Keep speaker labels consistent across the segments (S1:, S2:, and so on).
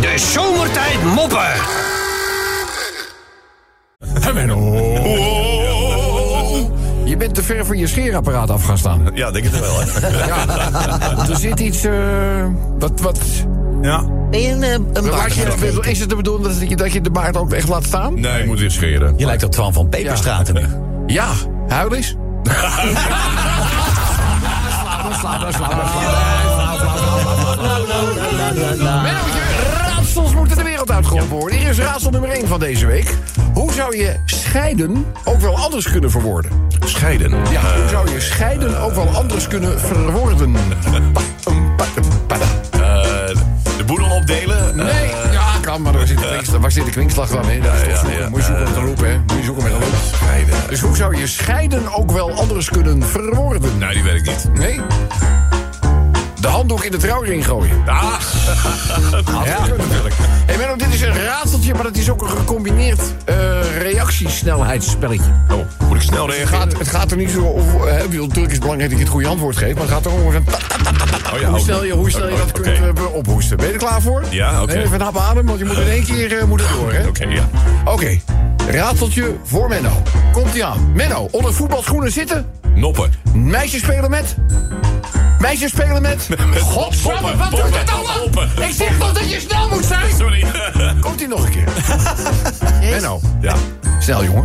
S1: De zomertijd moppen.
S2: Je bent te ver van je scheerapparaat af gaan staan.
S3: Ja, denk het wel. Hè.
S2: Er zit iets. eh, wat. wat
S3: Ja.
S4: Ben je een, eh, een
S2: laat
S4: baard?
S2: je,
S4: Je,
S2: is het de bedoeling dat je, dat je de baard ook echt laat staan?
S3: Nee, ik moet weer scheren.
S4: lijkt op Twan van Peperstraten nu.
S2: Ja, huil eens. Melkje, Raadsels moeten de wereld uitgeholpen worden. Hier is raadsel nummer 1 van deze week. Hoe zou je scheiden ook wel anders kunnen verwoorden?
S3: Scheiden.
S2: Ja, hoe zou je scheiden ook wel anders kunnen verwoorden?
S3: Eh, de boedel opdelen. Eh,
S2: Nee, ja, kan, maar waar zit de kwinkslag, waar zit de kwinkslag dan in? Dat is toch
S3: ja,
S2: zoeken.
S3: ja.
S2: Moet je zoeken met een loop, hè? Moet je zoeken met een loop.
S3: Scheiden.
S2: Dus hoe zou je scheiden ook wel anders kunnen verwoorden?
S3: Nee, die weet ik niet.
S2: Nee? De handdoek in de trouwring gooien. Nou,
S3: Ah,
S2: Ja, natuurlijk. Hey Menno, dit is een raadseltje, maar het is ook een gecombineerd eh, reactiesnelheidsspelletje.
S3: oh, moet ik snel
S2: Het
S3: reageren?
S2: gaat, het gaat er niet zo om. eh, ik bedoel, natuurlijk is het belangrijk dat je het goede antwoord geeft, maar het gaat erom hoe-
S3: Oh, ja,
S2: hoe
S3: oh,
S2: snel je, hoe snel je
S3: oh,
S2: dat
S3: oké.
S2: kunt eh, be- ophoesten. Ben je er klaar voor?
S3: Ja, oké.
S2: Neem Even een hap adem, want je moet in één keer eh, moet het door, hè?
S3: Oké, ja.
S2: Oké, raadseltje voor Menno. Komt ie aan. Menno, onder voetbalschoenen zitten.
S3: Noppen.
S2: Meisjes spelen met. Meisjes spelen met. Godsamme,
S3: poppen,
S2: wat doet
S3: poppen,
S2: dat allemaal?
S3: poppen.
S2: Ik zeg toch dat je snel moet zijn?
S3: Sorry.
S2: Komt ie nog een keer. Menno,
S3: Ja.
S2: snel jongen.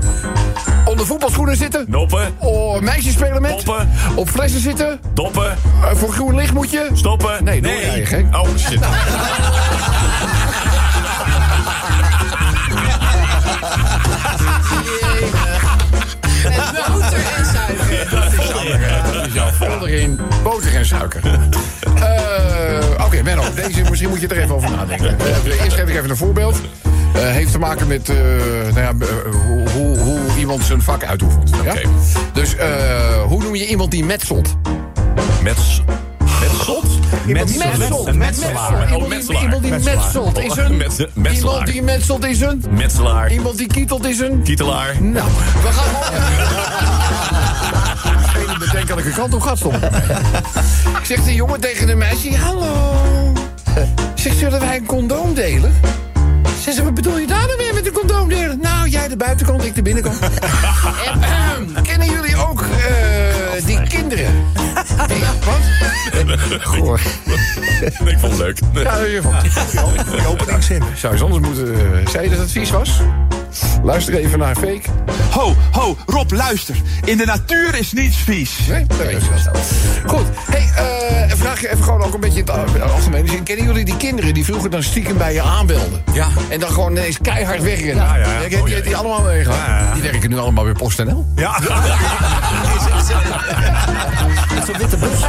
S2: Onder voetbalschoenen zitten.
S3: Noppen.
S2: Oh, meisjes spelen met.
S3: Poppen.
S2: Op flessen zitten.
S3: Doppen.
S2: Eh, voor groen licht moet je.
S3: Stoppen.
S2: Nee, doe jij, gek.
S3: Oh, shit.
S5: Met boter en suiker.
S2: Vol erin. Boter en suiker. Eh, Oké, Menno, deze misschien moet je er even over nadenken. Eh, eerst geef ik even een voorbeeld. Eh, heeft te maken met eh, nou ja, eh, hoe, hoe, hoe iemand zijn vak uitoefent. Ja?
S3: Oké.
S2: Dus eh, hoe noem je iemand die metselt?
S3: Met... Met zot? Oh,
S2: Metselt.
S3: Metselaar.
S2: Iemand die- Iemand die metselt is een...
S3: Metselaar.
S2: Iemand die metselt is een...
S3: Metselaar.
S2: Iemand die kietelt is een...
S3: Kietelaar.
S2: Nou, we gaan gewoon. Geen bedenkelijke kant op gaat stoppen. Zegt de jongen tegen de meisje: Hallo. Zegt, zullen wij een condoom delen? Zegt ze, wat bedoel je daar dan weer met een condoom delen? Nou, jij de buitenkant, ik de binnenkant. Ehm, Kennen jullie ook eh, die kinderen? Die, wat?
S3: Ik vond het leuk.
S2: Ja, dat is je van. openingszin. Zou je anders moeten... eh, Zei je dat het vies was? Luister even naar Fake.
S6: Ho, ho, Rob, luister. In de natuur is niets vies.
S2: Nee, dat weet je wel. Goed, hey, eh vraag je even gewoon ook een beetje in het al- algemene zin. Kennen jullie die kinderen die vroeger dan stiekem bij je aanbelden?
S3: Ja.
S2: En dan gewoon ineens keihard wegrennen?
S3: Ja, ja, ja.
S2: Heb je- heb je die allemaal meegemaakt?
S3: Ja, ja.
S2: Die werken nu allemaal bij PostNL.
S3: Ja.
S4: Zo'n witte bus.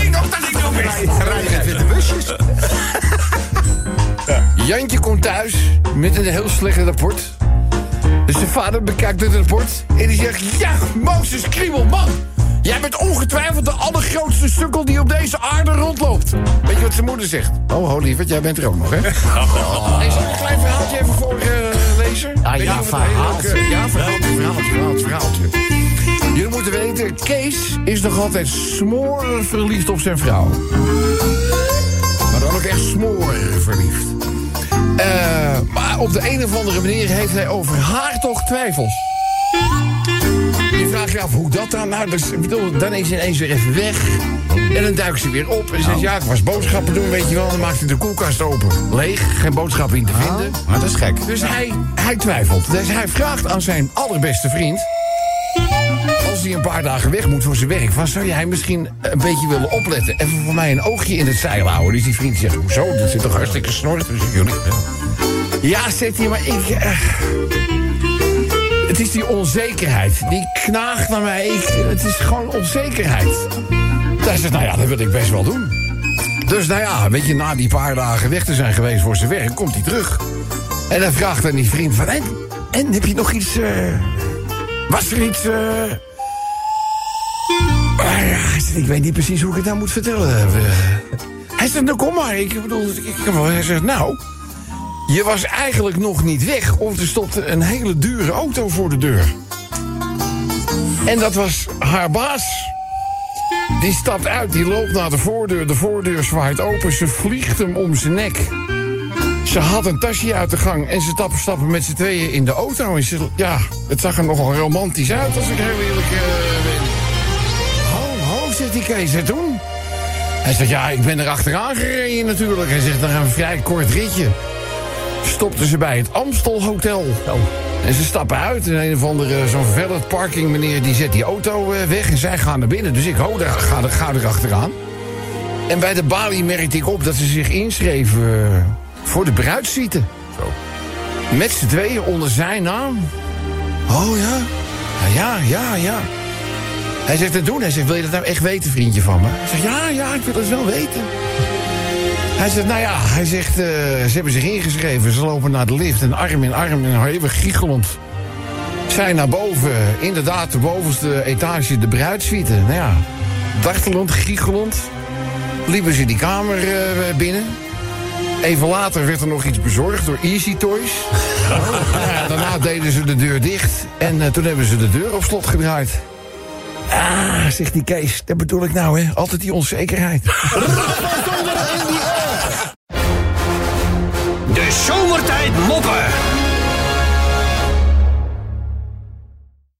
S2: Ding dong, dat ding dong, weg.
S4: Witte busjes.
S2: Jantje komt thuis met een heel slecht rapport. Dus zijn vader bekijkt het rapport en die zegt... Ja, Mozes Kriebel, man! Jij bent ongetwijfeld de allergrootste sukkel die op deze aarde rondloopt. Weet je wat zijn moeder zegt? Oh, ho, lieverd, jij bent er ook nog, hè? Hey, zal ik een klein verhaaltje even voor eh lezer?
S4: Ah,
S2: Weet
S4: ja,
S2: je wat een hele
S4: verhaaltje.
S2: leuke- Ja, verhaaltje, verhaaltje, verhaaltje, verhaaltje. Jullie moeten weten, Kees is nog altijd smoren verliefd op zijn vrouw. Maar dan ook echt smoren verliefd. Eh, maar op de een of andere manier heeft hij over haar toch twijfels. Je vraagt je af hoe dat dan. Nou, dus, ik bedoel, dan is ze ineens weer even weg. En dan duikt ze weer op en
S4: Nou.
S2: zegt: Ja, ik was boodschappen doen, weet je wel. Dan maakt hij de koelkast open. Leeg, geen boodschappen in te vinden.
S4: Ah, Maar dat is gek.
S2: Dus hij, hij twijfelt. Dus hij vraagt aan zijn allerbeste vriend. Als hij een paar dagen weg moet voor zijn werk, van zou jij misschien een beetje willen opletten? Even voor mij een oogje in het zeil houden. Dus die vriend zegt: Hoezo? Dat zit toch hartstikke snor tussen jullie? Ja, zegt hij, maar ik. eh, het is die onzekerheid. Die knaagt naar mij. Ik, het is gewoon onzekerheid. Hij zegt: Nou ja, dat wil ik best wel doen. Dus nou ja, weet je, na die paar dagen weg te zijn geweest voor zijn werk, komt hij terug. En dan vraagt aan die vriend van... En, en heb je nog iets... eh, was er iets... eh Ah ja, hij zegt, ik weet niet precies hoe ik het nou moet vertellen. Eh, Hij zegt, nou kom maar. Ik bedoel, ik, ik- hij zegt, nou... Je was eigenlijk nog niet weg... of er stopte een hele dure auto voor de deur. En dat was haar baas... Die stapt uit, die loopt naar de voordeur. De voordeur zwaait open, ze vliegt hem om zijn nek. Ze haalt een tasje uit de gang en ze stappen, stappen met z'n tweeën in de auto. En ze, ja, het zag er nogal romantisch uit, als ik heel eerlijk eh, ben. Ho, ho, zegt die Kees, en toen? Hij zegt, ja, ik ben er achteraan gereden natuurlijk. Hij zegt, dan een vrij kort ritje. Stopten ze bij het Amstel Hotel. En ze stappen uit en een of andere eh, zo'n valet parking meneer... die zet die auto eh, weg en zij gaan naar binnen. Dus ik, ho, daar, ga, er- ga er achteraan. En bij de balie merkte ik op dat ze zich inschreven eh, voor de bruidszieten. Zo. Met z'n tweeën onder zijn naam. Oh ja? Ja, ja, ja, ja. Hij zegt het doen. Hij zegt, wil je dat nou echt weten, vriendje van me? Ik zeg, ja, ja, ik wil dat wel weten. Hij zegt, nou ja, hij zegt, eh, ze hebben zich ingeschreven. Ze lopen naar de lift en arm in arm en even giechelend. Zijn naar boven, inderdaad, de bovenste etage, de bruidssuite. Nou ja, dartelend, giechelend liepen ze die kamer eh, binnen. Even later werd er nog iets bezorgd door Easy Toys. Nou ja, daarna deden ze de deur dicht en eh, toen hebben ze de deur op slot gedraaid. Ah, zegt die Kees, dat bedoel ik nou, hè? Altijd die onzekerheid.
S1: De zomertijd moppen.